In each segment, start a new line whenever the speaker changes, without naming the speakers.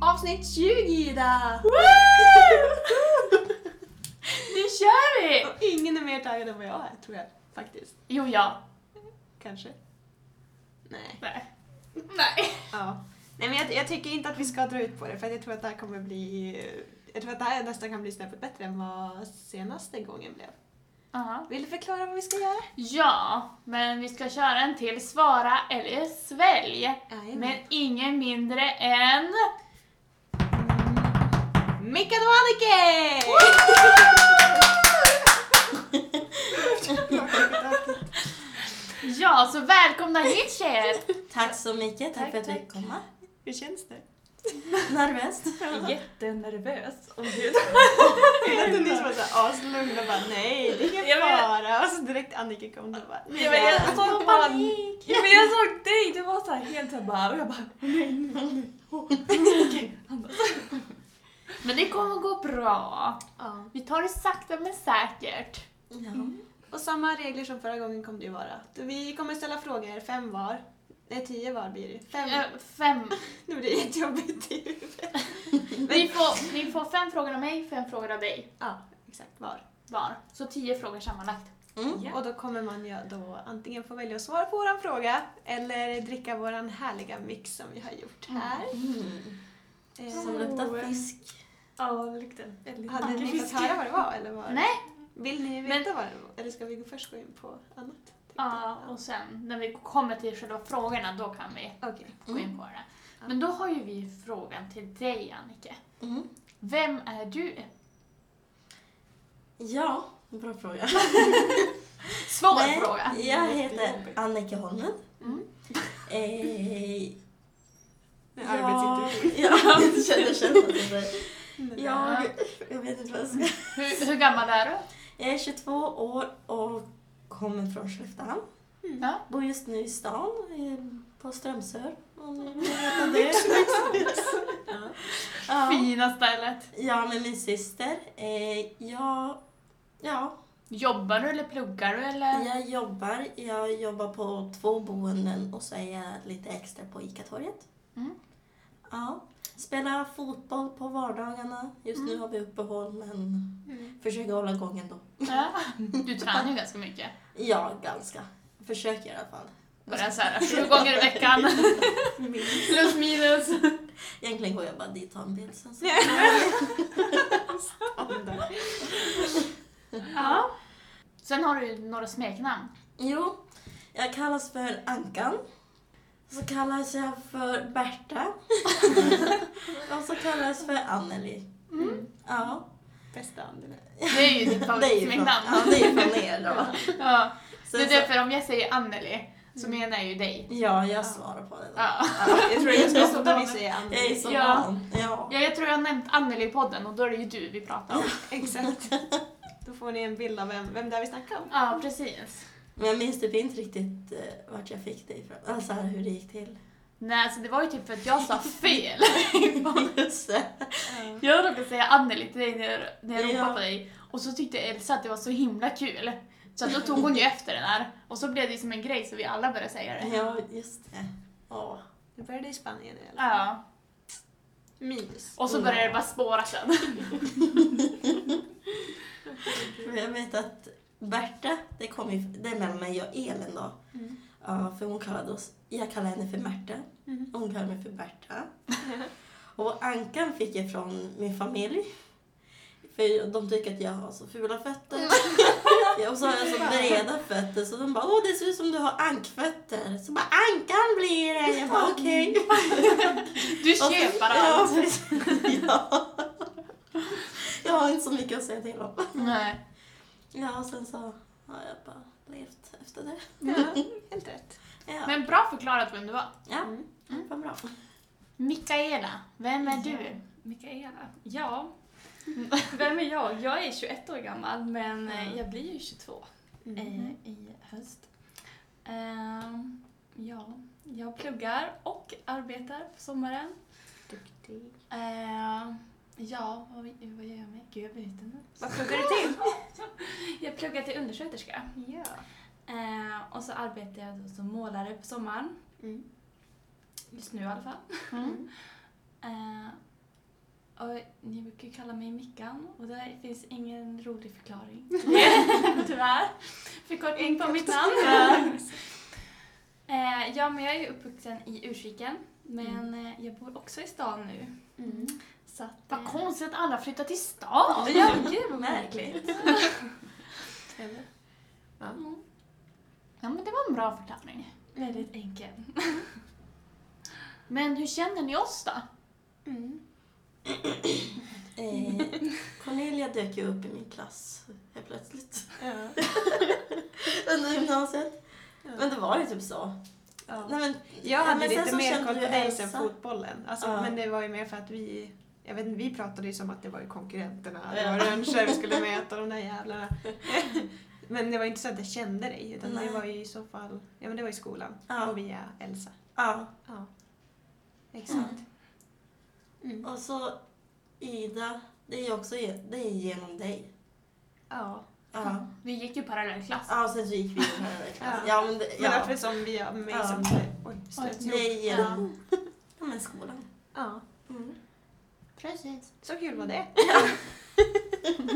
avsnitt 20 Ida!
Nu kör vi!
Och ingen är mer taggad än vad jag är, tror jag. Faktiskt.
Jo, ja.
Kanske. Nej.
Nej. Nej.
Ja. Nej men jag, jag tycker inte att vi ska dra ut på det för att jag tror att det här kommer bli... Jag tror att det här nästan kan bli snäppet bättre än vad senaste gången blev.
Aha.
Vill du förklara vad vi ska göra?
Ja, men vi ska köra en till svara eller svälj. Men
Jajamän.
ingen mindre än...
Mickan Mm. och Annike!
Ja, så välkomna hit tjejer!
Tack så mycket, tack,
Tack,
för att
tack.
vi fick komma.
Hur känns det?
Nervöst.
Jättenervös. Och gud.
Det lät ni som var såhär aslugna och bara nej, det är ingen
Jag vet.
fara. Och så direkt Annike kom och bara nej.
Ja, men jag såg bara...
Panik!
Ja, men jag såg dig, du var så här helt såhär bara... Och jag bara... Nej, nej, nej. Åh, okej.
Men det kommer gå bra.
Ja.
Vi tar det sakta men säkert.
Ja.
Mm.
Och samma regler som förra gången kommer det ju vara. Vi kommer ställa frågor, fem var. Nej, tio var blir det. Fem.
Mm.
Eh, Fem.
Nu blir det jättejobbigt i huvudet.
Ni får, ni får fem frågor av mig, fem frågor av dig
Ja, exakt var.
var. Så tio frågor sammanlagt.
Mm.
Ja.
Och då kommer man ju då antingen få välja att svara på våran fråga eller dricka våran härliga mix som vi har gjort här.
Mm.
Eh,
Som luktar fisk.
Oh. Ja, lukten. Väldigt
Hade ni
mycket
fått
fisk.
höra vad det var eller var?
Nej.
Vill ni
Men-
veta vad det var? Eller ska vi först gå in på annat? tänkte
Ja,
jag.
och sen när vi kommer till själva frågorna, då kan vi
Okej.
gå in på det. Mm. Men då har ju vi frågan till dig, Annike.
Mm.
Vem är du?
Ja, bra fråga.
Svår
Nej,
fråga!
Jag heter Annika Holmen.
Mm.
Eh,
Ja.
ja,
Arbetsintervju.
ja, jag känner jag känner att det är- jag, jag vet inte vad jag ska...
Hur, hur gammal är du?
Jag är 22 år och kommer från Skelleftehamn.
Mm.
Ja.
Bor just nu i stan, eh, på Strömsör. Om ni vill veta det. Ja. Ja.
Fina stället.
Ja, med min syster. Eh, jag, ja,
Jobbar du eller pluggar du eller?
jag jobbar. Jag jobbar på två boenden och så är jag lite extra på ICA-torget.
Mm.
Ja. Spelar fotboll på vardagarna. Just nu
Mm.
har vi uppehåll, men försöker hålla igång ändå.
Ja. Du tränar ju ganska mycket.
Ja, ganska. Försöker i alla fall.
Bara så här, sju gånger i veckan. Plus minus.
Egentligen går jag bara dit och tar en bild sen. Så.
Standard.
Ja. Sen har du ju några smeknamn.
Jo, jag kallas för Ankan. Så kallas jag för Berta. och så kallas jag för Anneli. Ja.
Bästa anden.
Det är ju ditt
från,
favoritsmeknamn.
ja, det är ju från er då.
Ja.
Så,
Det är
så, Mm.
därför om jag säger Anneli så menar jag ju dig.
ja, jag svarar på det då.
Ja.
Jag tror det är ganska ofta vi säger anden.
Jag är så
Ja.
van. Ja.
Ja, jag tror jag har nämnt Anneli i podden och då är det ju du vi pratar om.
Exakt. Då får ni en bild av vem, vem det är vi snackar om.
Ja, precis.
Men jag minns typ inte riktigt eh, vart jag fick det ifrån. Alltså här, hur det gick till.
Nej, alltså det var ju typ för att jag sa fel.
Just det.
Jag råkade säga Anneli till dig när, när jag ropade
Ja.
på dig och så tyckte Elsa att det var så himla kul. Så att då tog hon ju efter den här och så blev det ju som en grej så vi alla började säga det.
Ja, just det. Ja.
Det började i Spanien i alla fall.
Ja.
Minus.
Och så började det bara spåra sen.
Men jag vet att Berta, det, kom ju, det är mellan mig och Elin då.
Mm.
Ja, för hon kallade oss, jag kallade henne för Märta
Mhm.
och hon kallade mig för Berta. och Ankan fick jag från min familj. För de tycker att jag har så fula fötter. och så har jag så breda fötter så de bara åh det ser ut som du har ankfötter. Så bara Ankan blir det. Jag bara okej.
Du
Och så-
köper
ja,
allt.
precis. ja. Jag har inte så mycket att säga till om.
Nej.
Ja, och sen så har jag bara levt efter det.
Ja, helt rätt.
Ja,
Men bra förklarat vem du var.
ja.
Mm.
vad bra.
Mikaela, vem är du?
Mikaela. Ja. Vem är jag? Jag är 21 år gammal, men eh, jag blir ju 22
Mm.
eh, i höst. Ehm, ja, jag pluggar och arbetar på sommaren.
Duktig.
Eh, ja, vad, vad gör jag med? Gud, jag vet inte.
Vad pluggar du till?
Jag pluggar till undersköterska.
Ja.
Eh, och så arbetar jag då som målare på sommaren.
Mm.
Just nu i alla fall.
Mm.
Eh, Och ni brukar ju kalla mig Mickan och det finns ingen rolig förklaring. Tyvärr. Förkortning på mitt namn. Eh, ja, men jag är ju uppvuxen i Urskiken, men eh, jag bor också i stan nu.
Mm.
Så att,
Vad
eh,
konstigt att alla flyttar till stan!
Ja, gud vad märkligt.
Eller?
Mm.
Ja, men det var en bra förklaring.
Väldigt enkel.
Men hur känner ni oss då?
Mm.
Eh, Cornelia dök ju upp i min klass helt plötsligt.
Ja.
Under gymnasiet.
Ja.
Men det var ju typ så.
Ja.
Nej, men,
Jag hade
men sen
lite
så
mer
kände
koll på
du
dig
Elsa.
sen fotbollen. Alltså,
Ja.
Men det var ju mer för att vi jag vet inte, vi pratade ju som att det var ju konkurrenterna, det
Ja.
var Rönnskär vi skulle möta, de där jävlarna. Men det var inte så att jag kände dig, utan
Nej.
det var ju i så fall, ja men det var i skolan
Ja.
och via Elsa.
Ja.
Ja. Exakt. Mm.
Och så Ida, det är ju också ge- det är genom dig.
Ja.
Ja.
Vi gick ju parallellklass.
Ja, och sen så gick vi in här i klass. Ja, men det,
Men
ja.
därför som via mig
Ja.
som... Oj, stöts
Det
ihop.
är genom ja. men skolan.
Ja.
Mm.
Precis.
Så kul var det.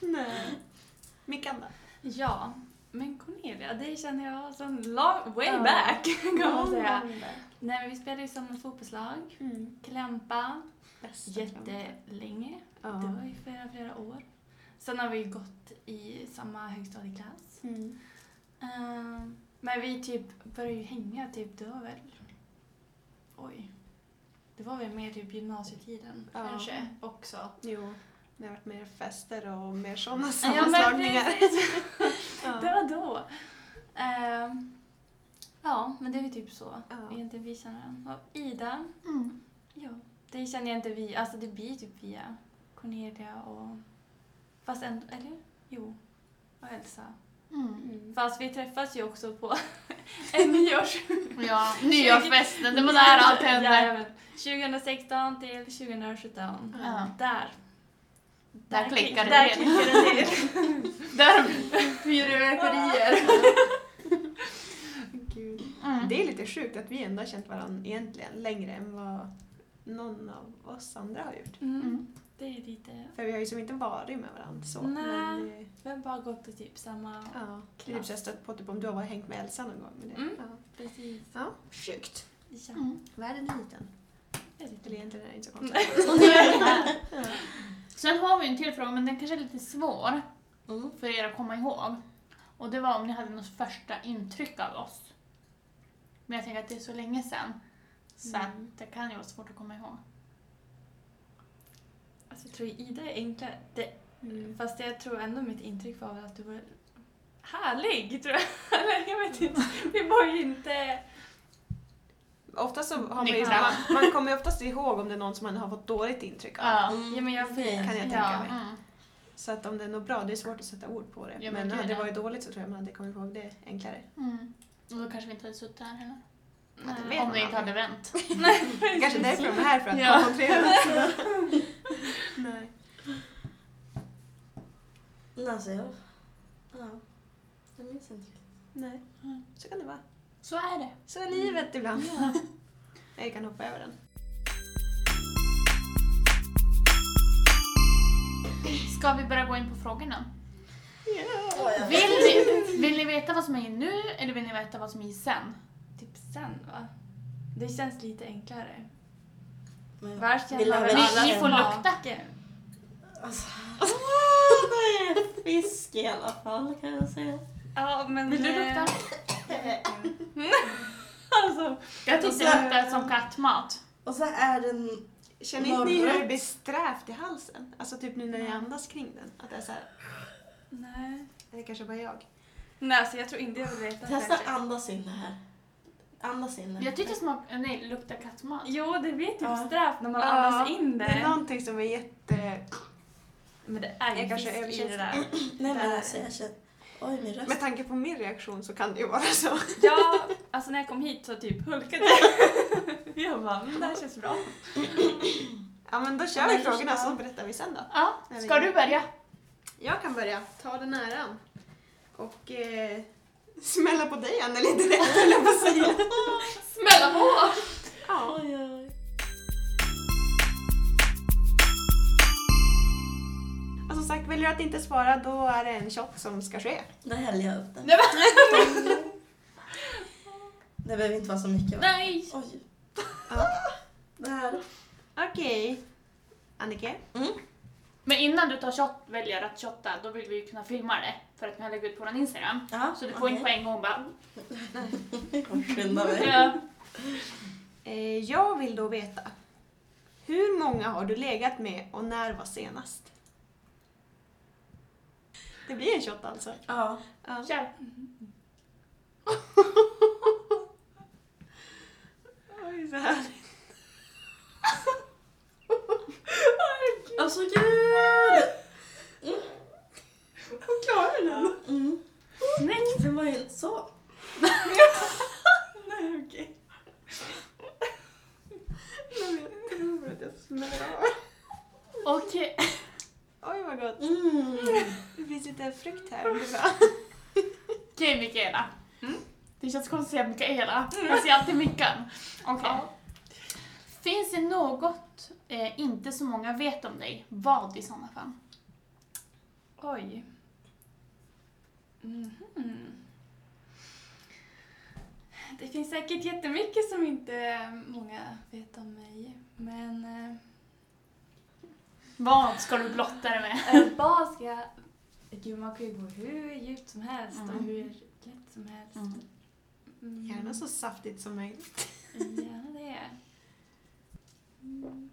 Nej. Mickan då?
Ja, men Cornelia, det känner jag som long, way back kan man säga. Nej, men vi spelade ju som ett fotbollslag,
Mm.
klämpa,
Bästa klämmen.
jättelänge.
Ja.
Det var ju flera, flera år. Sen har vi ju gått i samma högstadieklass.
Mm.
Ehm, men vi typ började ju hänga, typ det var väl... Oj. Det var väl mer typ gymnasietiden
Ja.
kanske också.
Jo, det har varit mer fester och mer sådana
Ja, men
sammanslagningar.
precis.
Ja.
Det var då. Ehm, ja, men det är ju typ så.
Ja.
Egentligen vi känner varandra. Och Ida,
Mm.
ja, det känner jag inte vi. Alltså det blir typ via Cornelia och... Fast ändå, eller? Jo. Och Elsa.
Mm.
Fast vi träffas ju också på en nyårs...
Ja, nyårsfesten, det var där allt hände.
Jajamän. 2016 till 2017.
Ja.
Där.
Där klickar det
Där
till.
klickar det till.
Där fyrverkerier.
Gud.
Mm.
Det är lite sjukt att vi ändå har känt varandra egentligen längre än vad någon av oss andra har gjort.
Mm.
Mm.
Det är lite...
För vi har ju som inte varit med varandra så.
Nej.
Men, eh,
Vi har bara gått i typ samma...
ja, det är typ så jag stött på typ om du har varit hängt med Elsa någon gång. Men det,
Mm.
ja.
Precis.
ja, sjukt.
Ja.
Mm.
Världen är liten.
Väldigt
Eller
lite.
egentligen är det inte så konstigt.
Sen har vi en till fråga, men den kanske är lite svår
Mm.
för er att komma ihåg. Och det var om ni hade något första intryck av oss. Men jag tänker att det är så länge sedan, så
Mm.
att det kan ju vara svårt att komma ihåg.
Alltså, jag tror Ida är enklare. Det,
Mm.
Fast jag tror ändå mitt intryck var väl att du var härlig, tror jag. Eller jag vet inte. Vi var ju inte...
Oftast så har man ju,
Nyktra.
man, man kommer ju oftast ihåg om det är någon som man har fått dåligt intryck av.
Ja.
Mm.
Ja, men jag vet.
Kan jag tänka
ja,
mig.
mm.
Så att om det är något bra, det är svårt att sätta ord på det.
Ja,
men
men gud,
hade det
ja.
varit dåligt så tror jag man hade kommit ihåg det enklare.
Mm. Och då kanske vi inte hade suttit här heller.
Ja, det
Nej.
vet
Om
man
vi inte hade
aldrig.
vänt.
Kanske därför de är här, för att
Ja.
koncentrera sig. Nej.
Men alltså, jag... Ja. Jag minns inte riktigt.
Nej. Så kan det vara.
Så är det.
Så är
Mm.
livet ibland. Jag kan hoppa över den.
Ska vi börja gå in på frågorna?
Åh, jag-
Vill ni, vill ni veta vad som är nu eller vill ni veta vad som är sen?
Typ sen, va? Det känns lite enklare.
Men-
Värst
Vill
känner
jag
väl
väl
alla
Ni, ni får
smak.
lukta.
Alltså, åh, det är fisk i alla fall kan jag säga.
Ja, men...
Vill du
eh,
lukta?
Alltså,
Jag tyckte det luktade som kattmat.
Och så är den...
Känner inte ni hur
Morgon.
det blir strävt i halsen? Alltså typ nu när ni andas kring den. Att det är så här,
nej.
det är kanske bara jag.
Nej, alltså jag tror inte jag vill veta.
Testa
kanske.
andas in det här. Andas in det.
Jag tyckte smak... Nej, lukta kattmat.
Jo, det blir typ
Ja.
straff när man
Ja,
andas in det.
Det är någonting som är jätte...
Men det är ju
Jag kanske
fisk i det där.
Nej men
Där.
alltså jag känner... Oj min röst.
Med tanke på min reaktion så kan det ju vara så.
Ja, alltså när jag kom hit så typ hulkade jag. Jag bara, men det här känns bra.
Ja men då kör
Ja,
vi
men då
frågorna
kör vi.
så berättar vi sen då.
Ja, ska du börja?
Jag kan börja. Ta den äran. Och eh, smälla på dig Anneli direkt höll jag på att säga.
Smälla på!
Ja.
Oj, oj, oj.
väljer att inte svara då är det en chock som ska ske.
Där häller jag upp den.
Nej,
Det behöver inte vara så mycket va?
Nej!
Oj.
Ja.
Det här.
Okej. Annike?
Men innan du tar shot, väljer att shotta, då vill vi ju kunna filma det för att kunna lägga ut på vår Instagram.
Ja,
Så du får inte på
okej.
en gång bara...
Skynda mig.
Ja.
Eh, jag vill då veta. Hur många har du legat med och när var senast? Det blir en shot alltså.
Ja.
Ja.
Kör!
Oj, så här.
Alltså gud!
Hon klarar den.
Mm.
Nej!
Den var ju inte så.
Nej, okej. Nej, men Jag tror att jag smäller av.
Okej.
Oj, vad gott.
Mm.
Det finns lite frukt här. Det är bra.
Okej Mikaela. Mm. Det känns konstigt att säga Mikaela. Jag säger alltid Mickan. Mm. Okej. Finns det något eh, inte så många vet om dig? Vad i sådana fall?
Oj. Mhm. Det finns säkert jättemycket som inte många vet om mig. Men eh,
Vad ska du blotta det med?
Eh, vad ska jag... Gud, man kan ju gå hur djupt som helst och
Mm.
hur lätt som helst.
Mm.
Mm.
Gärna så saftigt som möjligt.
Gärna det. Mm.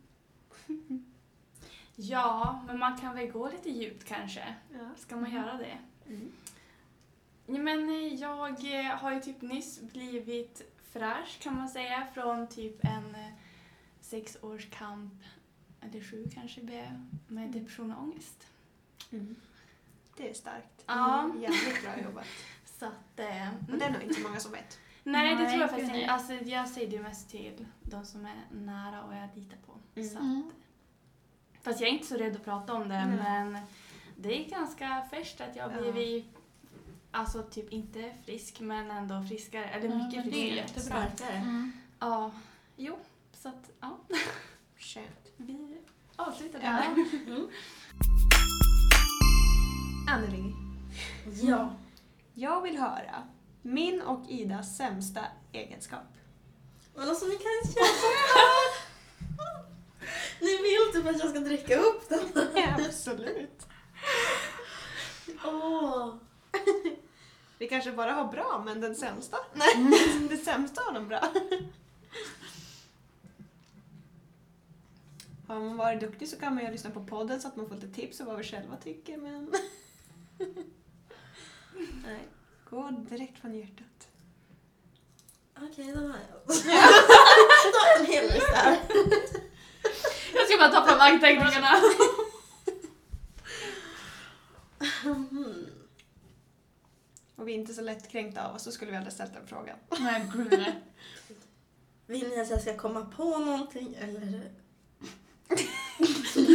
Ja, men man kan väl gå lite djupt kanske.
Ja.
Ska man
Mm.
göra det?
Mm.
Ja, men eh, jag eh, har ju typ nyss blivit fräsch kan man säga från typ en eh, sex års kamp, eller sju kanske det blev, med depression och ångest.
Det är starkt.
Ja.
Mm, Jävligt bra jobbat.
Så att, eh,
Men det är nog inte många som vet.
Nej, det
Nej,
tror jag
gud,
faktiskt
nej.
inte. Alltså, jag säger det ju mest till de som är nära och jag litar på.
Mm.
Så. Fast jag är inte så rädd att prata om det,
Nej.
men det är ganska färskt att jag har
Ja.
blivit, alltså typ inte frisk, men ändå friskare. Eller
Ja,
mycket
men det är
friskare.
jättebra.
Så-
Starkare.
Mm.
Ja, jo. Så att, ja,
Skönt.
vi avslutar
Ja.
där.
Mm.
Anneli,
Ja.
jag vill höra min och Idas sämsta egenskap.
Men alltså ni kan inte göra sådär! Ni vill typ att jag ska dricka upp den.
Absolut.
Åh.
Vi kanske bara har bra, men den sämsta? det sämsta har de bra. Har man varit duktig så kan man ju lyssna på podden så att man får lite tips och vad vi själva tycker, men... Nej, gå direkt från hjärtat.
Okej, då har jag. då har jag en hel lista här.
Jag ska bara ta fram anteckningarna.
Mhm.
Och vi är inte så lättkränkta av oss, så skulle vi aldrig ställt den frågan.
Nej gud nej.
Vill ni att jag ska komma på någonting eller?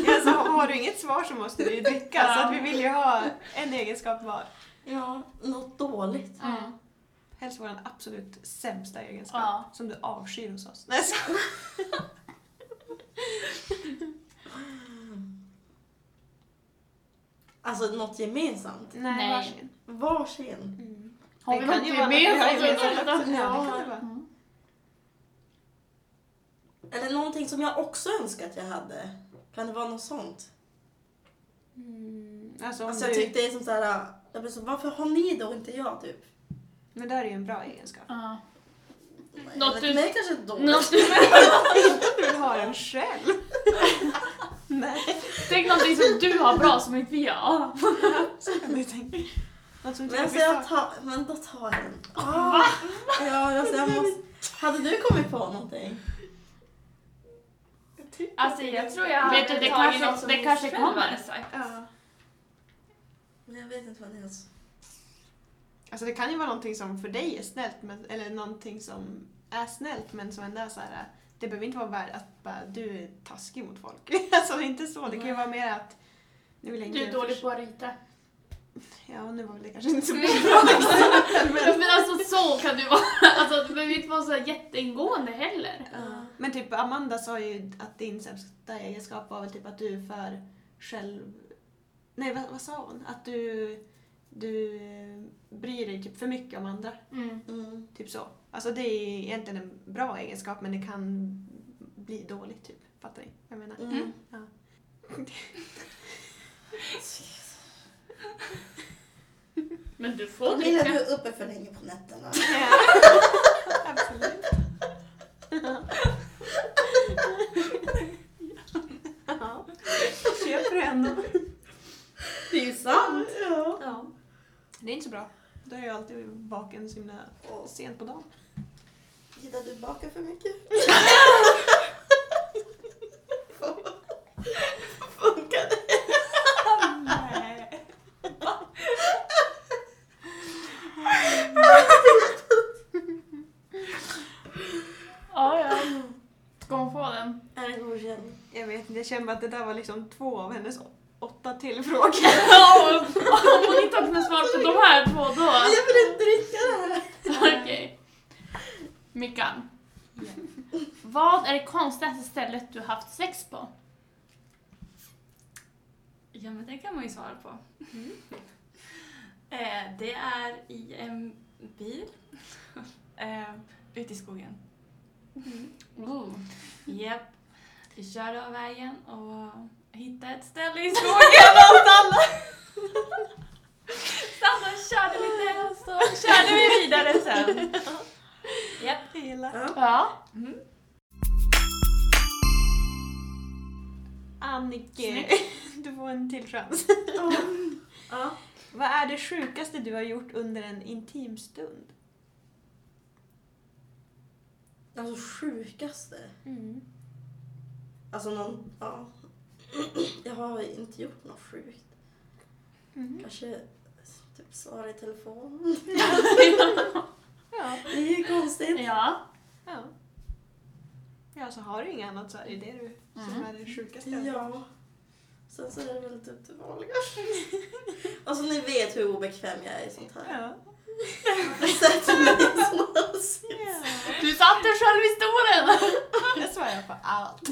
Alltså, har du inget svar så måste du ju dricka, så att vi vill ju ha en egenskap var.
Ja, något dåligt.
Mm.
Helst vår absolut sämsta egenskap,
Ja.
som du avskyr hos oss. Nej, så.
Alltså något gemensamt.
Nej,
Nej.
varsin.
Varsin.
Mm.
Har
Det
vi
kan
något
ju vara något vi har gemensamt
gemensamt?
också. Ja, det kan
Ja.
det vara.
Mm.
Eller någonting som jag också önskar att jag hade. Kan det vara något sånt?
Mm. Alltså, om
Alltså
du...
jag tyckte det är som såhär, jag blir så, varför har ni det och inte jag typ?
Men det här är ju en bra egenskap.
Ja.
Nej,
Något
men
du-
för mig kanske är dåligt.
Något du-
Du vill ha den själv! Nej,
Tänk någonting som du har bra som inte vi har.
så kan du tänka. Något som du
Men,
tycker
alltså,
vi
jag
tar.
tar, men då tar jag den. Ah, ja, alltså, jag måste, hade du kommit på någonting?
Alltså jag tror jag
Vet du,
hade
det
tagit
kanske-
något som
det
vi
kanske
själva
kommer.
hade sagt.
Ja.
Men jag vet inte vad det är. alltså.
Alltså det kan ju vara någonting som för dig är snällt, men, eller någonting som är snällt men som ändå är så här. det behöver inte vara värd att bara, du är taskig mot folk. Alltså det är inte så, det kan ju vara mer att nu vill jag inte
Du är dålig på att rita.
Ja, nu var väl det kanske inte så bra exempel, men...
Men alltså så kan du vara. Alltså, det behöver inte vara så här jätteingående heller.
Ja. Men typ Amanda sa ju att din sämsta egenskap var väl typ att du är för själv... Nej, vad, vad sa hon? Att du, du eh, bryr dig typ för mycket om andra.
Mm.
Mm.
Typ så. Alltså det är egentligen en bra egenskap men det kan bli dåligt typ. Fattar ni? Jag menar.
Mm.
Ja.
Men du får
Då blir du
dricka.
uppe för länge på nätterna.
Absolut. Ja. Köper du ändå?
Det är ju sant! Ja.
Ja. Det är inte så bra. Då är jag alltid vaken så himla
Och
sent på dagen.
Ida, du bakar för mycket. Funkar det?
Nej. Ja, ja. Ska hon få den?
Är det godkänd?
Jag vet inte, jag känner bara att det där var liksom två av hennes åtta till frågor.
Ja, om hon inte har kunnat svara på de här två då.
Jag vill inte dricka det här!
Okej. Mickan. Vad är det konstigaste stället du haft sex på?
Ja, men det kan man ju svara på. Mm. Eh, det är i en bil eh, ute i skogen.
Ooh.
Japp. Vi körde av vägen och hittade ett ställe i skogen och stannade. Stannade och körde lite och så körde vi vidare sen. Japp.
Hela.
Ja.
Annike, du får en till chans.
Ja.
Vad är det sjukaste du har gjort under en intim stund?
Alltså sjukaste.
Mm.
Alltså någon, ja. Jag har inte gjort något sjukt.
Mhm.
Kanske typ svara i telefon.
Ja.
Det är ju konstigt.
Ja.
ja. Ja, så har du inget annat så är det det du som
Mm.
är det sjukaste.
Ja. Sen så är det väl typ det vanliga. Alltså ni vet hur obekväm jag är i sånt här.
Ja.
Sätt mig som helst.
Ja.
Du satte dig själv i stolen!
Jag svarar på allt.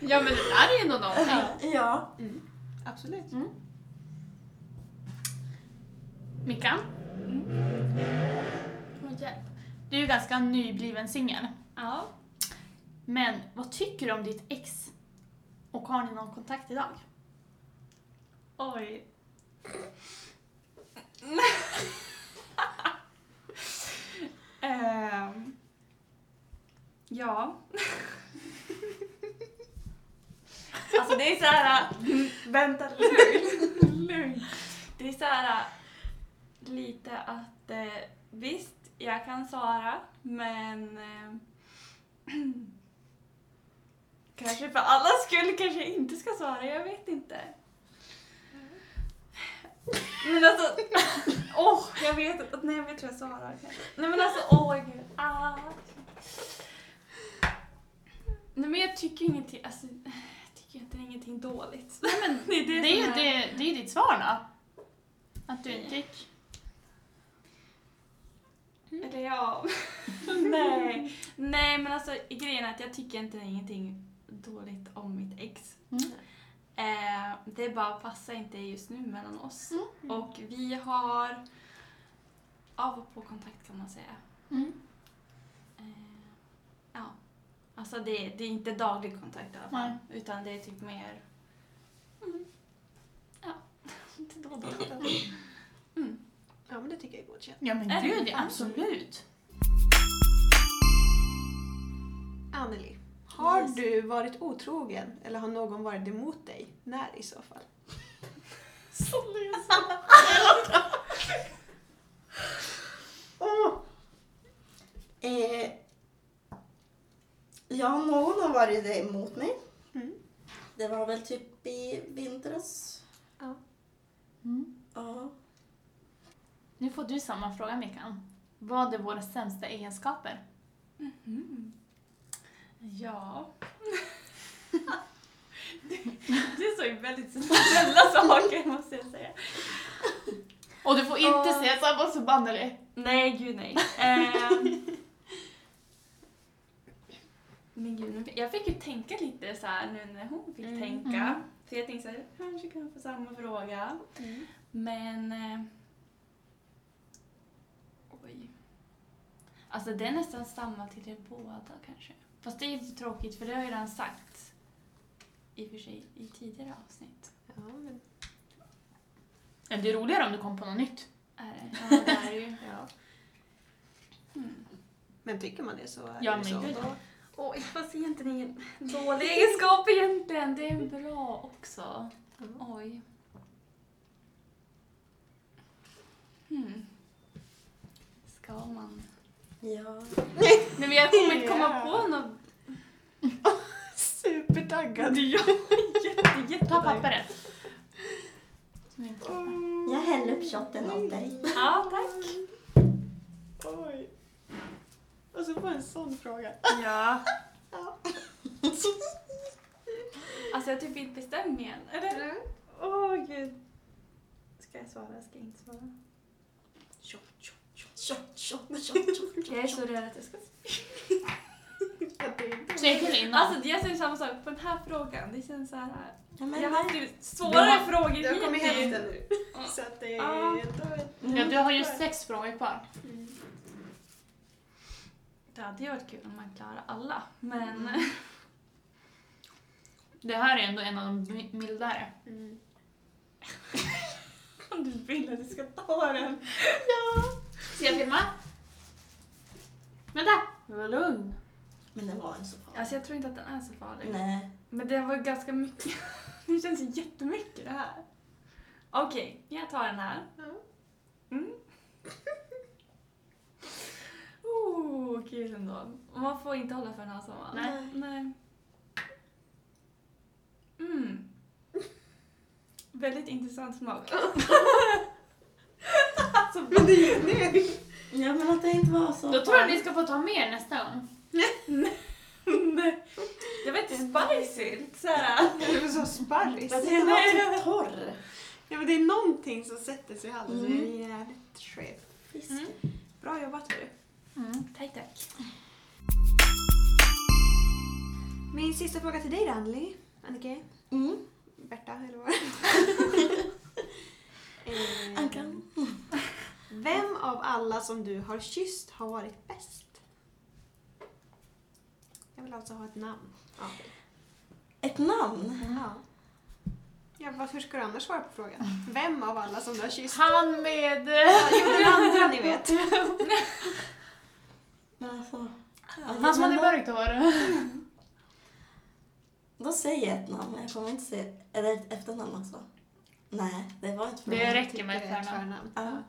Ja men det där är ju ändå någonting.
Ja.
Absolut.
Mickan? Åh, hjälp. Du är ju ganska nybliven singel.
Ja.
Men vad tycker du om ditt ex? Och har ni någon kontakt idag?
Oj. Ehm, ja. alltså det är så här... Vänta, lugn. lugn. Det är så här lite att eh, visst, jag kan svara, men eh, kanske för alla skull kanske jag inte ska svara, jag vet inte. Men alltså, åh, jag vet inte. Nej, men jag tror jag svarar kanske. Nej men alltså, åh gud. Ah. Nej men jag tycker ingenting, alltså, jag tycker inte det är ingenting dåligt. Nej men det
Det är ju det, det är ditt svar då. Att du inte gick.
Mm. Eller ja, nej. Nej men alltså grejen är att jag tycker inte det är ingenting dåligt om mitt ex.
Mm.
Eh, det bara passar inte just nu mellan oss.
Mm.
Och vi har av och på kontakt kan man säga.
Mm.
Eh, ja. Alltså det, det är inte daglig kontakt i alla fall. Utan det är typ mer... Mm. Ja. Inte då och då.
Ja, men det tycker jag är godkänt.
Ja men
Är det?
gud, ja, absolut.
Anneli, har
Yes.
du varit otrogen eller har någon varit emot dig? När i så fall?
Eh, ja, någon har varit det emot mig.
Mm.
Det var väl typ i vintras.
Mm.
Ja.
Nu får du samma fråga Mickan. Vad är våra sämsta egenskaper?
Mhm. Ja. Du sa ju väldigt snälla saker måste jag säga.
Och du får inte
Åh.
säga samma som Anneli.
Nej, gud nej. Ehm. Men gud, nu- jag fick ju tänka lite så här nu när hon fick
Mm.
tänka.
Mm.
Så jag tänkte så här, jag kanske kan få samma fråga.
Mm.
Men... Eh, oj. Alltså det är nästan samma till er båda kanske. Fast det är ju tråkigt för det har jag redan sagt. I och för sig i tidigare avsnitt.
Ja, men,
Ja, Det är roligare om du kom på något nytt.
Är det? Ja, det är det ju.
ja.
Mm.
men tycker man det så är
Ja,
det
men
så.
gud.
Då,
Oj, fast egentligen ingen dålig egenskap egentligen. Det är en bra också.
ja.
Oj. Hmm. Ska man?
Ja.
Nej, men jag kommer inte komma
Ja.
på något.
Supertaggad! Ja.
Jätte, jätte...
Ta pappret.
Jag häller upp shotten åt dig.
Ja, tack.
Oj. Och så på en sån fråga.
Ja. Alltså jag har typ inte bestämt mig än. Eller? Mm. Åh gud. Ska jag svara? Ska jag inte svara?
Shot, shot, shot, shot, shot, shot, shot.
Jag är så rädd att jag ska
Säg till innan.
Alltså jag säger samma sak på den här frågan. Det känns så här.
ja men,
Jag har typ- haft
nej.
ju svårare frågor
Du har kommit
hittills.
hälften nu. Så att det
Ja.
är... Då är
Mm.
ja, du har ju sex frågor kvar.
Det hade ju varit kul om man klarar alla, men...
Det här är ändå en av de mi- mildare.
Mm.
Om du vill att du ska ta den.
Ska jag filma? Vänta! Var lugn.
men det var en så farlig.
Alltså jag tror inte att den är så farlig.
Nej.
Men det var ganska mycket. Det känns ju jättemycket det här. Okej, jag tar den här.
Ja.
Mm. Oh, kul ändå. Man får inte hålla för den här sommaren.
Nej.
Nej. Mm. Väldigt intressant smak. alltså,
Ja men att det inte var så
Då tror jag ni ska få ta mer nästa gång.
Nej. Jag vet inte, spicy. Lite såhär.
det är så sparris.
Men den var typ torr.
Ja, men det är någonting som sätter sig i halsen.
Mm.
Det är jävligt skev.
Fisk.
Mm.
Bra jobbat hörru.
Mm.
Tack, tack.
Min sista fråga till dig då, Anneli. Annika?
Mm.
Berta, eller vad? Eh,
Ankan.
Vem av alla som du har kysst har varit bäst? Jag vill alltså ha ett namn av dig.
Ett namn.
Ja. Ja, vad- hur ska du annars svara på frågan? Vem av alla som du har kysst?
Han med... eh,
Ja, jo, den andra ni vet.
Men alltså.
Han som hade
men då,
mörkt hår.
då säger jag ett namn. men Jag kommer inte säga... Är det ett efternamn också? Nej, det var inte för
Det
mig.
räcker med ett förnamn.
Ja.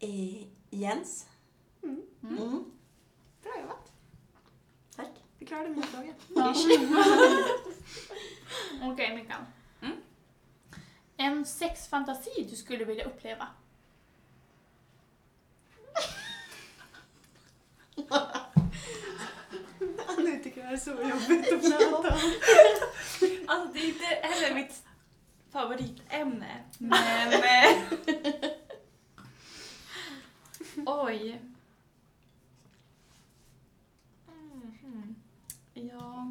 Eh, Jens.
Mm.
Mm.
Mm.
Bra jobbat.
Tack.
Du klarade min fråga.
Ja. Okej, Mikael.
Mm.
En sexfantasi du skulle vilja uppleva?
Nu tycker jag det är så jobbigt att prata om.
Alltså det är inte heller mitt favoritämne, men... eh, Oj.
Mm-hmm.
Mhm. Ja...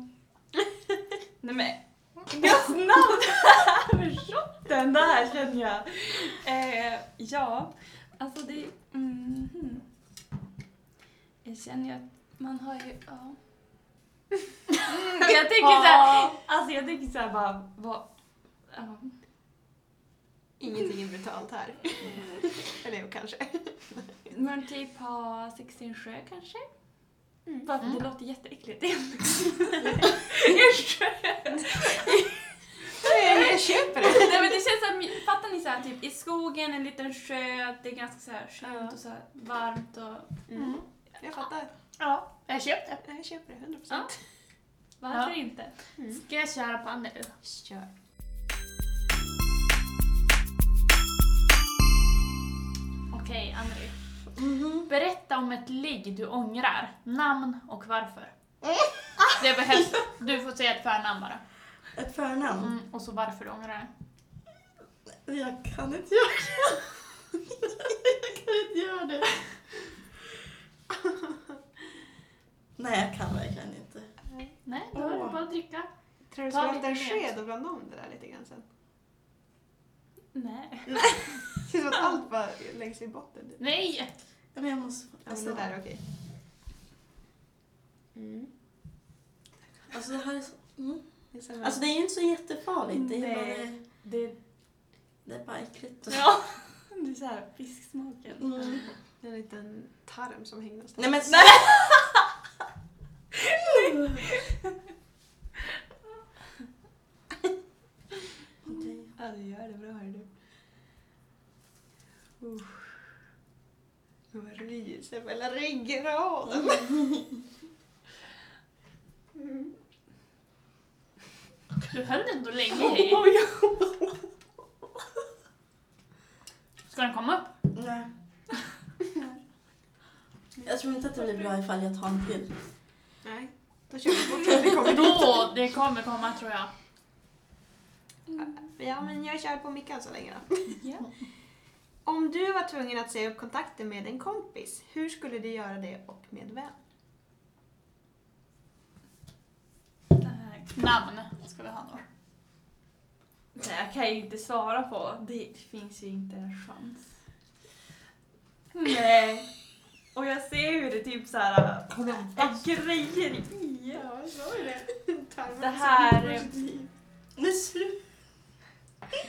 Nej men... Guds namn! Shotten där känner jag. Eh, ja, alltså det... mhm. Jag känner ju att man har ju... Ja. Mm, jag tänker så här, Alltså jag tänker såhär bara, vad... Ja.
Ingenting är brutalt här. Mm. Eller jo, kanske.
Men typ ha sex i en sjö kanske?
Mm.
Bara för
Mm.
det låter jätteäckligt. I en sjö!
Nej, jag köper det.
Nej men det känns såhär, fattar ni såhär typ i skogen, en liten sjö, att det är ganska såhär
Ja.
skönt och såhär varmt och...
Mm. Jag fattar.
Ja, jag köpte.
Jag köper det, 100 procent.
Varför
Ja.
inte?
Mm.
Ska jag köra på Anneli?
Kör.
Okej, Anneli.
Mhm.
Berätta om ett ligg du ångrar, namn och varför. Det behövs. Du får säga ett förnamn bara.
Ett förnamn.
Mm, och så varför du ångrar det.
Jag kan inte göra det. Jag kan inte göra det. Nej, jag kan verkligen inte.
Nej, då är det
Åh.
bara att dricka.
Tror Ska du
Ta
slå
lite
efter en
med.
sked och blanda om det där lite grann sen?
Nej.
Det känns som att allt var längs i botten.
Nej!
Ja, men jag måste...
Alltså det där är okej. Mm.
Alltså det här är så... Mm.
Det är så här-
Alltså det är ju inte så jättefarligt. Det är, bara,
Nej.
det,
Det,
det är bara äckligt.
ja. det är såhär fisksmaken.
Mm.
Det är en liten tarm som hänger någonstans.
Nej men... Okej.
Ja, du gör det bra hörru du. Uh. Jag ryser mellan ryggraden. Mm.
Du höll ändå länge i. Ska den komma upp?
Nej. Jag tror inte att det blir bra ifall jag tar en till.
Nej, då kör vi bort när vi kommer dit.
Då, det kommer komma tror jag.
Ja, men jag kör på Mickan så länge då.
Ja.
Om du var tvungen att säga upp kontakten med en kompis, hur skulle du göra det och med vem?
Nej,
Namn ska vi ha då.
jag kan ju inte svara på. Det finns ju inte en chans. Nej. Och jag ser hur det typ såhär är grejer i.
jag sa ju det. Tarmen
Det här-
som gick på sitt liv.
Nu slutar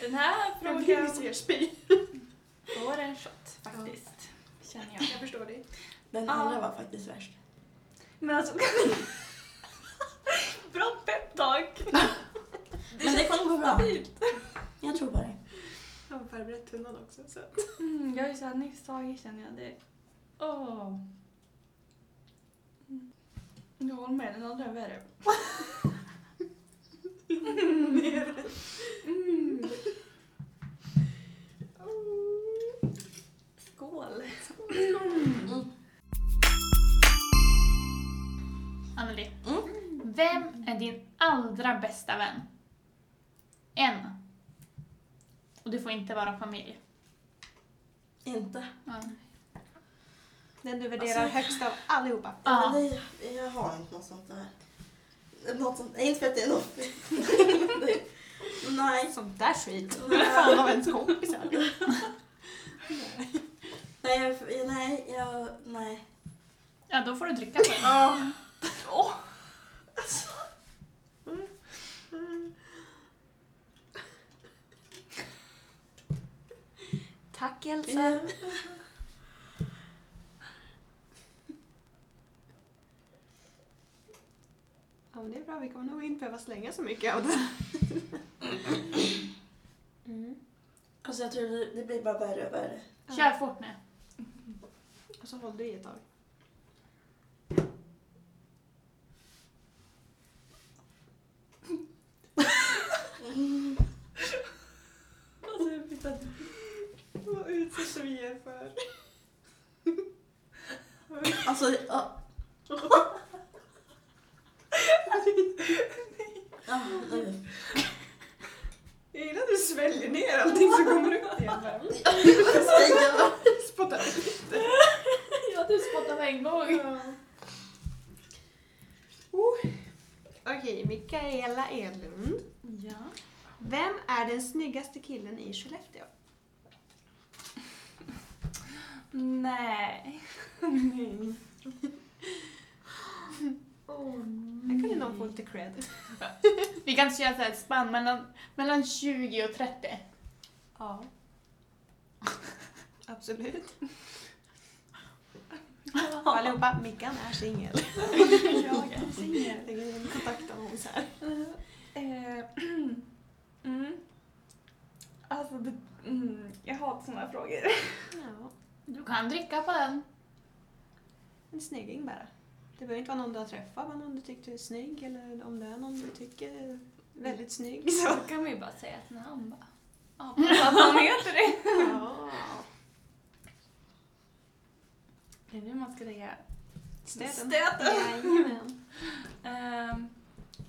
Den här
Jag
frågan
ryser, jag spyr.
får en shot faktiskt. Känner jag.
Jag förstår dig.
Den
Ja.
andra var faktiskt värst.
Men alltså... Bra peptalk!
Men det kommer gå bra. Jag tror på dig.
Jag har förberett tunnan också. Så.
Mm, jag är såhär nyss tagen känner jag. Det... Åh. Mm. Jag håller med, den andra är värre. Mm. Skål!
Mm.
Anneli.
Mm.
Vem är din allra bästa vän? En. Och det får inte vara familj.
Inte.
Den du värderar
Alltså-
högst av allihopa.
Ja.
Men det, jag har inte något sånt där. Något sånt, inte för att det är något. Det- Nej.
Sånt där skit. Fan av ens kompisar.
Nej, jag, nej, jag, nej.
Ja, då får du dricka på den.
Ja.
Tack Elsa.
Ja.
Ja, men det är bra, vi kommer nog inte behöva slänga så mycket av det. Mm.
Alltså jag tror det, det blir bara värre och värre.
Kör fort nu.
Och så håller du i ett tag.
Alltså jag fick att...
Vad utsätter vi er för?
Alltså, ja. Ja, nu.
Jag gillar att du sväljer ner allting som kommer upp igen. bara. Spottar ut det.
Ja, du spottade typ en gång.
Ja. Oh. Okej, Mikaela Edlund.
Ja.
Vem är den snyggaste killen i Skellefteå?
Nej.
Här kunde någon få lite cred.
Vi kan köra så här ett spann mellan, mellan 20 och 30.
Ja. Absolut. Allihopa, Mickan är singel.
Jag är
Jag
singel.
tänker kontakta någon så här.
Eh, mm. Alltså, det, mm, jag hatar såna här frågor.
Ja,
Du kan dricka på den.
en snygging bara. Det behöver inte vara någon du har träffat, men någon du tyckte är snygg eller om det är någon du tycker är väldigt snygg. Så.
Då kan vi ju bara säga ett namn bara. Ja, bara att han heter det.
Ja.
Det är nu man ska lägga...
Stöten.
Stöten.
Jajamän.
Um,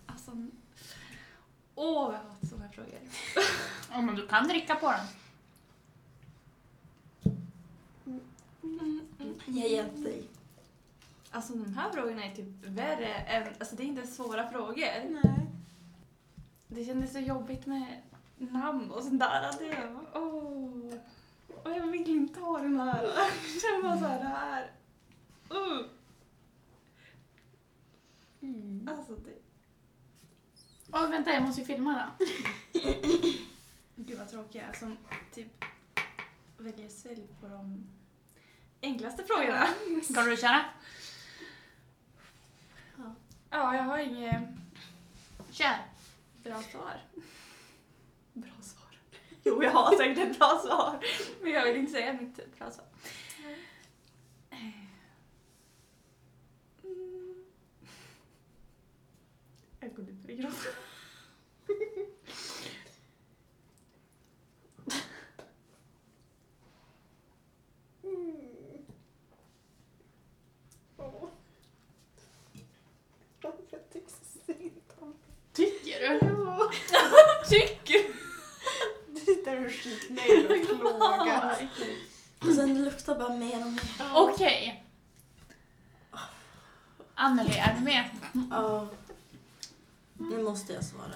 alltså... Åh, jag har haft såna här frågor.
Ja, men du kan dricka på den.
Mm.
Mm,
Jag hjälpte dig.
Alltså de här frågorna är typ värre än... Alltså det är inte ens svåra frågor.
Nej.
Det kändes så jobbigt med namn och sånt där. Att det var, åh. Och jag vill inte ha den här. Jag känner bara såhär, det här. Uh.
Mm.
Alltså det,
Åh, vänta, jag måste ju filma det.
gud vad tråkiga som typ väljer själv på de enklaste frågorna.
Ska du köra?
Ja, jag har inget
Kör!
bra svar. Bra svar.
Jo, jag har säkert ett bra svar.
Men jag vill inte säga mitt bra svar. Mm. Jag går lite i gråt.
Mm.
Jag tycker så synd om
Tycker du?
Du sitter och skitnöjd och plågas.
Och sen luktar bara mer och mer.
Okej. Anneli, är du med?
Ja. Nu måste jag svara.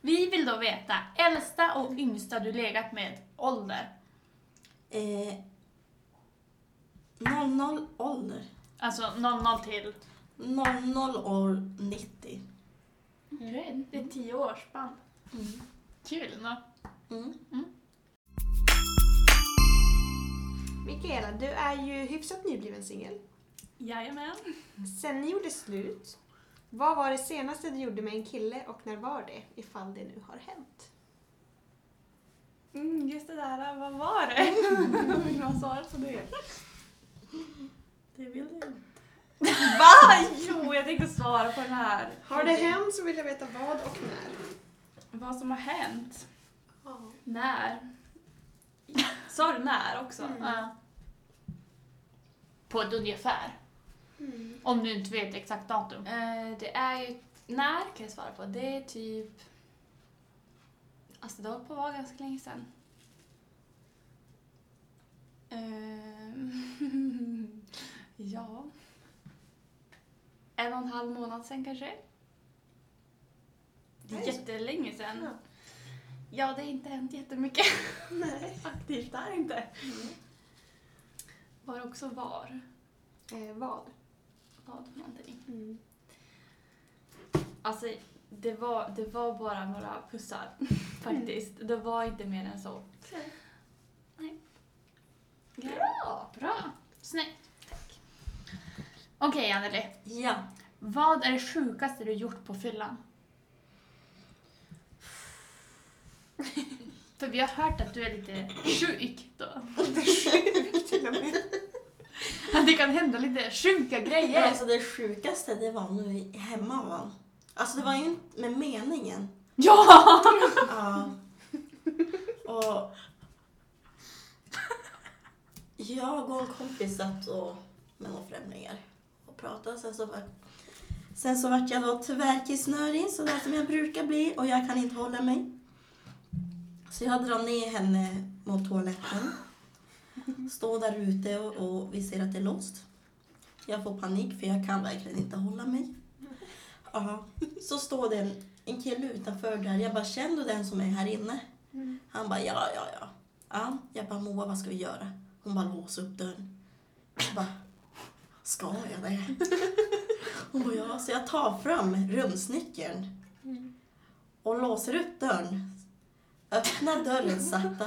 Vi vill då veta äldsta och yngsta du legat med ålder.
Eh, 00 ålder.
Alltså 00 till...
00 år 90.
Det är tio års spann.
Mm.
Kul! Nå?
Mm.
Mikaela, du är ju hyfsat nybliven singel.
Jajamän.
Sen ni gjorde slut, vad var det senaste du gjorde med en kille och när var det? Ifall det nu har hänt.
Mm, just det där, vad var det? Vill man svara på det?
Det vill jag.
Va? Jo, jag tänkte svara på den här.
Har det hänt så vill jag veta vad och när.
Vad som har hänt? När? Sa du när också?
Ja. På ett ungefär.
Mm.
Om du inte vet exakt datum.
Eh, det är ju... När kan jag svara på? Det är typ... Alltså det håller på att vara ganska länge sedan. Ehm, Eh, ja. En och en halv månad sedan kanske? Det är
Nej.
jättelänge sedan.
Ja.
Ja, det har inte hänt jättemycket
Nej. Mm.
aktivt där inte. Var också var.
Eh, vad?
Vad för någonting.
Mm.
Alltså, det var, det var bara några pussar faktiskt. Det var inte mer än så.
Okej.
Nej. Ja.
Bra! Snyggt! Okej Anneli,
Ja.
vad är det sjukaste du gjort på fyllan? För vi har hört att du är lite sjuk då.
Till och med.
Att det kan hända lite sjuka
Ja,
grejer.
alltså det sjukaste det var nu hemma va? Alltså det var ju inte med meningen.
Ja!
Ja. Och... Jag och en kompis satt och, med några främlingar och pratade. Sen så, var, sen så vart jag då tyvärr kissnödig, sådär som jag brukar bli, och jag kan inte hålla mig. Så jag drar ner henne mot toaletten. Står där ute och, och vi ser att det är låst. Jag får panik för jag kan verkligen inte hålla mig. Ja. Så står det en en kille utanför där. Jag bara, känner du den som är här inne?
Mm.
Han bara, ja, ja, ja. ja. Jag bara, Moa, vad ska vi göra? Hon bara, lås upp dörren. Jag bara, ska jag det? Hon bara, ja. Så jag tar fram rumsnyckeln och låser upp dörren. Öppnar dörren sakta.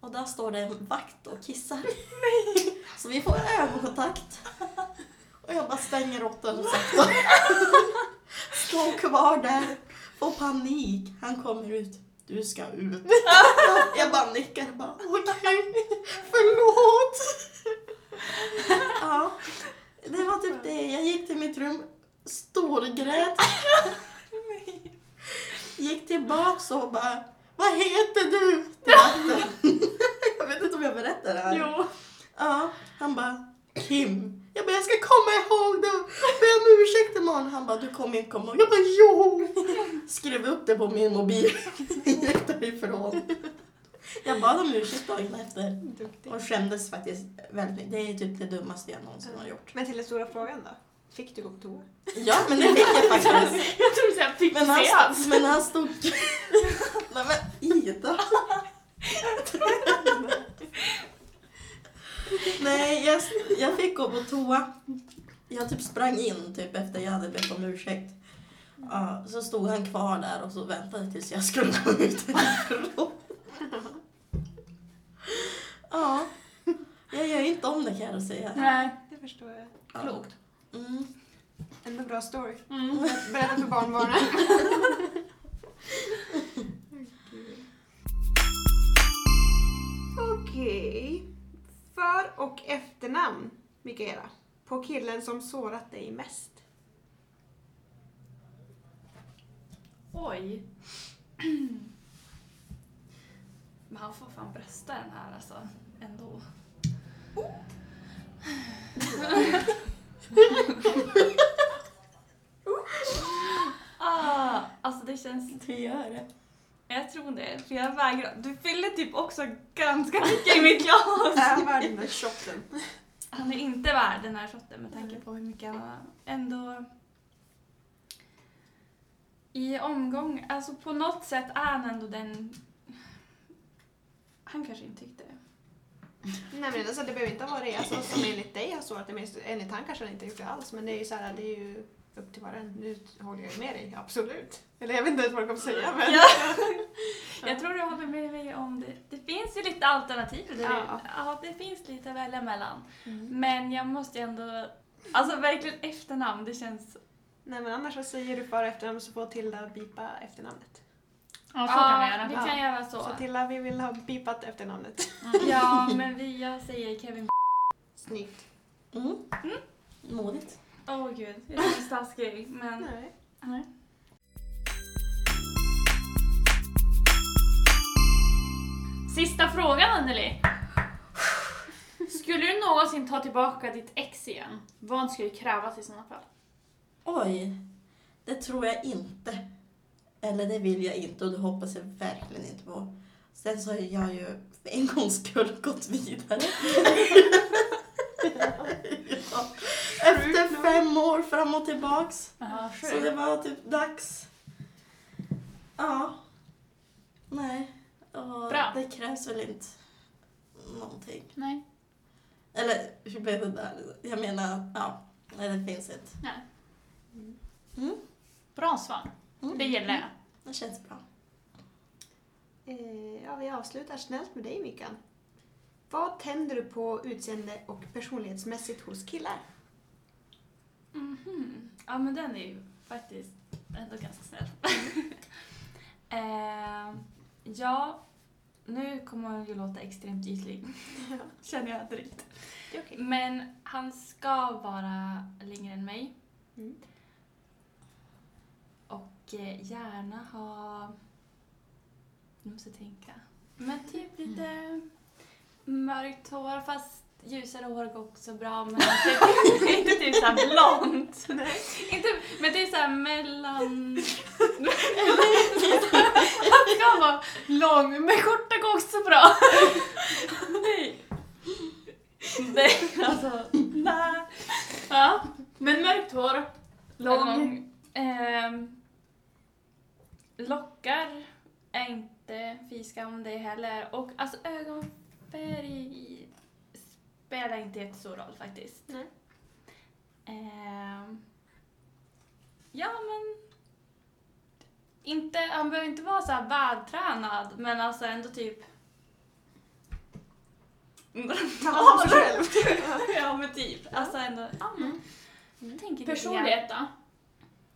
Och där står det en vakt och kissar. Så vi får ögonkontakt. Och jag bara stänger åt dörren sakta. Står kvar där. Får panik. Han kommer ut. Du ska ut. Jag bara nickar och bara okej, förlåt. Ja, det var typ det. Jag gick till mitt rum, storgrät. Gick tillbaks och bara, vad heter du? Till vakten. Jag vet inte om jag berättar det här.
Jo.
Ja, han bara Kim. Jag bara jag ska komma ihåg det. Be om ursäkt imorgon. Han bara du kommer inte komma ihåg. Jag bara jo. Skrev upp det på min mobil. Gick därifrån. Jag bad om ursäkt dagen efter
Duktig.
och skämdes faktiskt väldigt. Det är typ det dummaste jag någonsin har gjort.
Men till den stora frågan då. Fick du gå på toa?
Ja, men det fick jag faktiskt.
Jag tror såhär
Men han,
fixerad.
men han stod... Nej men Ida! Nej, jag, jag fick gå på toa. Jag typ sprang in typ efter jag hade bett om ursäkt. Ja, så stod han kvar där och så väntade tills jag skulle gå ut därifrån. Ja, jag gör inte om det kan jag säga.
Nej.
Det förstår jag.
Ja.
Klokt.
Mm.
Ändå bra story.
Mm.
Berätta för barnbarnen. Okej. För och efternamn, Mikaela. På killen som sårat dig mest.
Oj. Men han får fan brösta den här alltså, ändå. ah, alltså det känns...
Du gör det.
Jag tror det, för jag vägrar. Du fyller typ också ganska mycket i mitt glas.
Är värd Alltså, den där shotten.
Han är inte värd den här shotten med tanke på hur mycket han har- ändå... I omgång, alltså på något sätt är han ändå den... Han kanske inte tyckte det.
Nej men alltså, det behöver inte vara det alltså, som enligt dig har sårat dig mest. Enligt han kanske han inte gjort det alls. Men det är ju så här, det är ju upp till var och en. Nu håller jag ju med dig, absolut. Eller jag vet inte ens vad jag kommer säga men.
Ja. Jag tror du håller med mig om det. Det finns ju lite alternativ. där.
Ja.
ja, det finns lite att välja mellan.
Mm.
Men jag måste ju ändå... Alltså verkligen efternamn, det känns...
Nej men annars så säger du för och efternamn så får Tilda bipa efternamnet.
Ja, så kan man
vi
göra.
kan göra så.
Så Tilda, vi vill ha bipat efternamnet.
Ja, men vi, jag säger Kevin
Snyggt.
Mm. Modigt.
Åh gud, jag känns taskig, men...
Nej.
Nej. Sista frågan Anneli. Skulle du någonsin ta tillbaka ditt ex igen? Vad skulle krävas i sådana fall?
Oj, det tror jag inte. Eller det vill jag inte och det hoppas jag verkligen inte på. Sen så har jag ju för en gångs skull gått vidare. ja. Efter fem år fram och tillbaks.
Jaha,
Så det var typ dags. Ja. Nej. Och
Bra.
Det krävs väl inte någonting.
Nej.
Eller hur blev det där? Jag menar, ja. Nej, det finns inte.
Nej.
Mm.
Bra svar.
Mm.
Det gillar jag.
Det känns bra.
Eh, ja, vi avslutar snällt med dig Mikael. Vad tänder du på utseende och personlighetsmässigt hos killar?
Mhm. Ja, men den är ju faktiskt ändå ganska snäll. eh, ja, nu kommer han ju låta extremt ytlig. Känner jag direkt.
Det är okej.
Men han ska vara längre än mig.
Mm.
Och eh, gärna ha... Nu måste jag tänka. Men typ lite mörkt hår fast ljusare hår går också bra men inte, inte typ såhär blont. Inte, men typ såhär mellan...
Han ska vara lång, men korta går också bra.
Nej. Nej, alltså... Nej.
Ja. Men mörkt hår.
Lång. Ehm, lockar är inte fy skam det heller. Och alltså ögonfärg spelar inte jättestor roll faktiskt.
Nej.
Ehm, ja men... Inte, han behöver inte vara så här vältränad men alltså ändå typ...
Ta hand om dig själv.
ja men typ. Alltså ändå... Ja, men,
Mm.
tänker lite grann.
Personlighet då?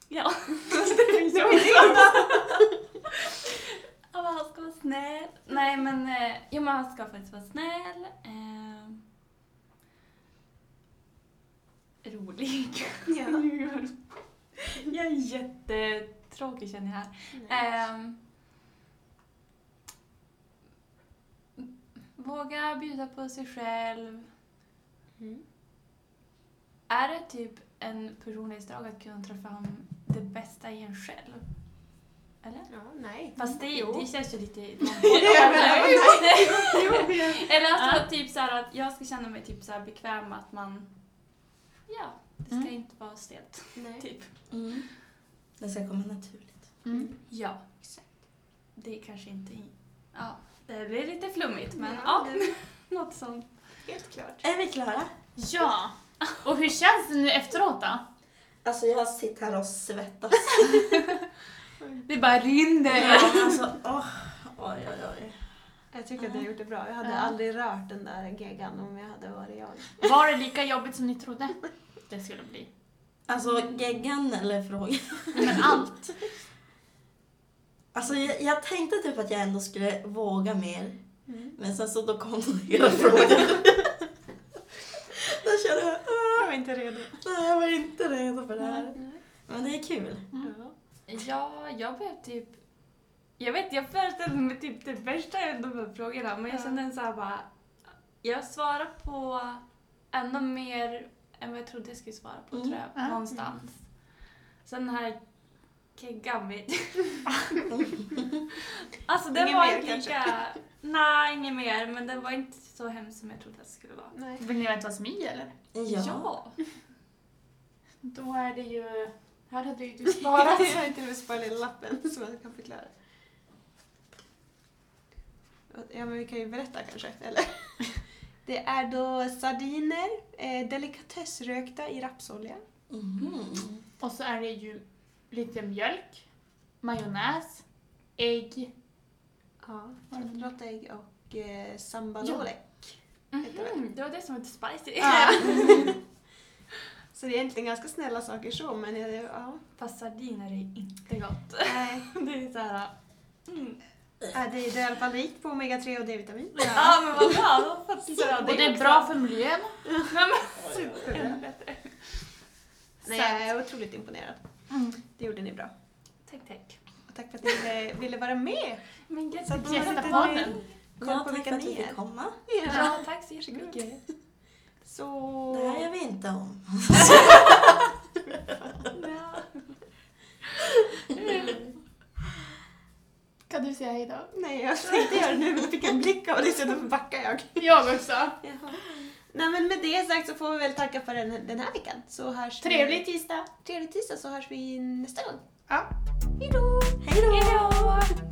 Ja. det finns ju också. Ja, men han ska vara snäll. Nej, men, eh, jo, men han ska faktiskt vara snäll. ehm, rolig.
Ja.
Jag är jättetråkig känner jag här. Ehm, våga bjuda på sig själv.
Mm.
Är det typ en personlighetsdrag att kunna ta fram det bästa i en själv? Eller?
Ja, nej.
Fast det,
Jo.
det känns ju lite... alltså,
Ja, men- Jo, det är-
Eller alltså typ så här att jag ska känna mig typ så här bekväm att man... Ja, Det ska
Mm.
inte vara stelt.
Nej.
Typ.
Mm. Det ska komma naturligt.
Mm.
Ja.
Exakt.
Det är kanske inte... Ja, det blir lite flummigt men
Ja,
ja, något sånt.
Helt klart.
Är vi klara?
Ja. Och hur känns det nu efteråt då?
Alltså jag sitter här och svettas.
Det bara rinner.
Ja, alltså, åh, oj, oj, oj.
Jag tycker att jag har gjort det bra. Jag hade
Ja.
aldrig rört den där geggan om jag hade varit jag.
Var det lika jobbigt som ni trodde det skulle bli?
Alltså geggan eller frågan?
Men allt.
Alltså jag, jag tänkte typ att jag ändå skulle våga mer.
Mm.
Men sen så då kom då hela frågan. Då kände jag,
Jag
"Ah,
var inte redo.
nej jag var inte redo för det här. Men det är kul.
Ja.
Ja, jag blev typ... Jag vet, jag föreställde mig typ det värsta av de här frågorna men jag
Ja.
kände en så här bara... Jag svarade på ännu mer än vad jag trodde jag skulle svara på
Mm.
tror jag,
Ja.
någonstans. Sen den här keggan vet Alltså den
Ingen
var
mer,
inte
kanske?
lika... Nej, ingen mer men den var inte så hemsk som jag trodde att det skulle vara.
Nej.
Vill ni veta vad som är i eller?
Ja.
Då är det ju... Här hade ju du
Bara jag har till och med sparat lilla lappen som jag kan förklara. Ja, men vi kan ju berätta kanske, eller? Det är då sardiner, eh, delikatessrökta i rapsolja.
Mhm.
Och så är det ju lite mjölk, majonnäs, ägg.
Ja, tröttråttägg och eh, sambalole.
Mhm, det var det som var lite spicy.
Så det är egentligen ganska snälla saker så, men eh, ja.
Fast sardiner är inte gott.
Nej.
Det är såhär... Mm.
Ja, Det är i alla fall rikt på omega-3 och D-vitamin.
Ja. men vad bra, då fattar jag
Och det är bra för miljön.
Nej men super.
Nej, jag är otroligt imponerad.
Mm.
Det gjorde ni bra.
Tack, tack.
Och tack för att ni ville, ville vara med.
Men gud,
Så att
tack.
man
Gästa
inte
podden.
Kolla
Ja,
på
tack
vilka
för att vi
ni är.
fick komma.
Ja.
Ja, tack så jättemycket.
Så...
Det här gör vi inte om.
Mm. Ja.
Kan du säga hejdå?
Nej, jag tänkte göra det nu, men fick en blick av dig så då backar jag.
Jag också.
Nej, men med det sagt så får vi väl tacka för den, den här veckan. Så hörs vi-
Trevlig tisdag.
Trevlig tisdag så hörs vi nästa gång.
Ja.
Hej då!
Hej då!
Hejdå!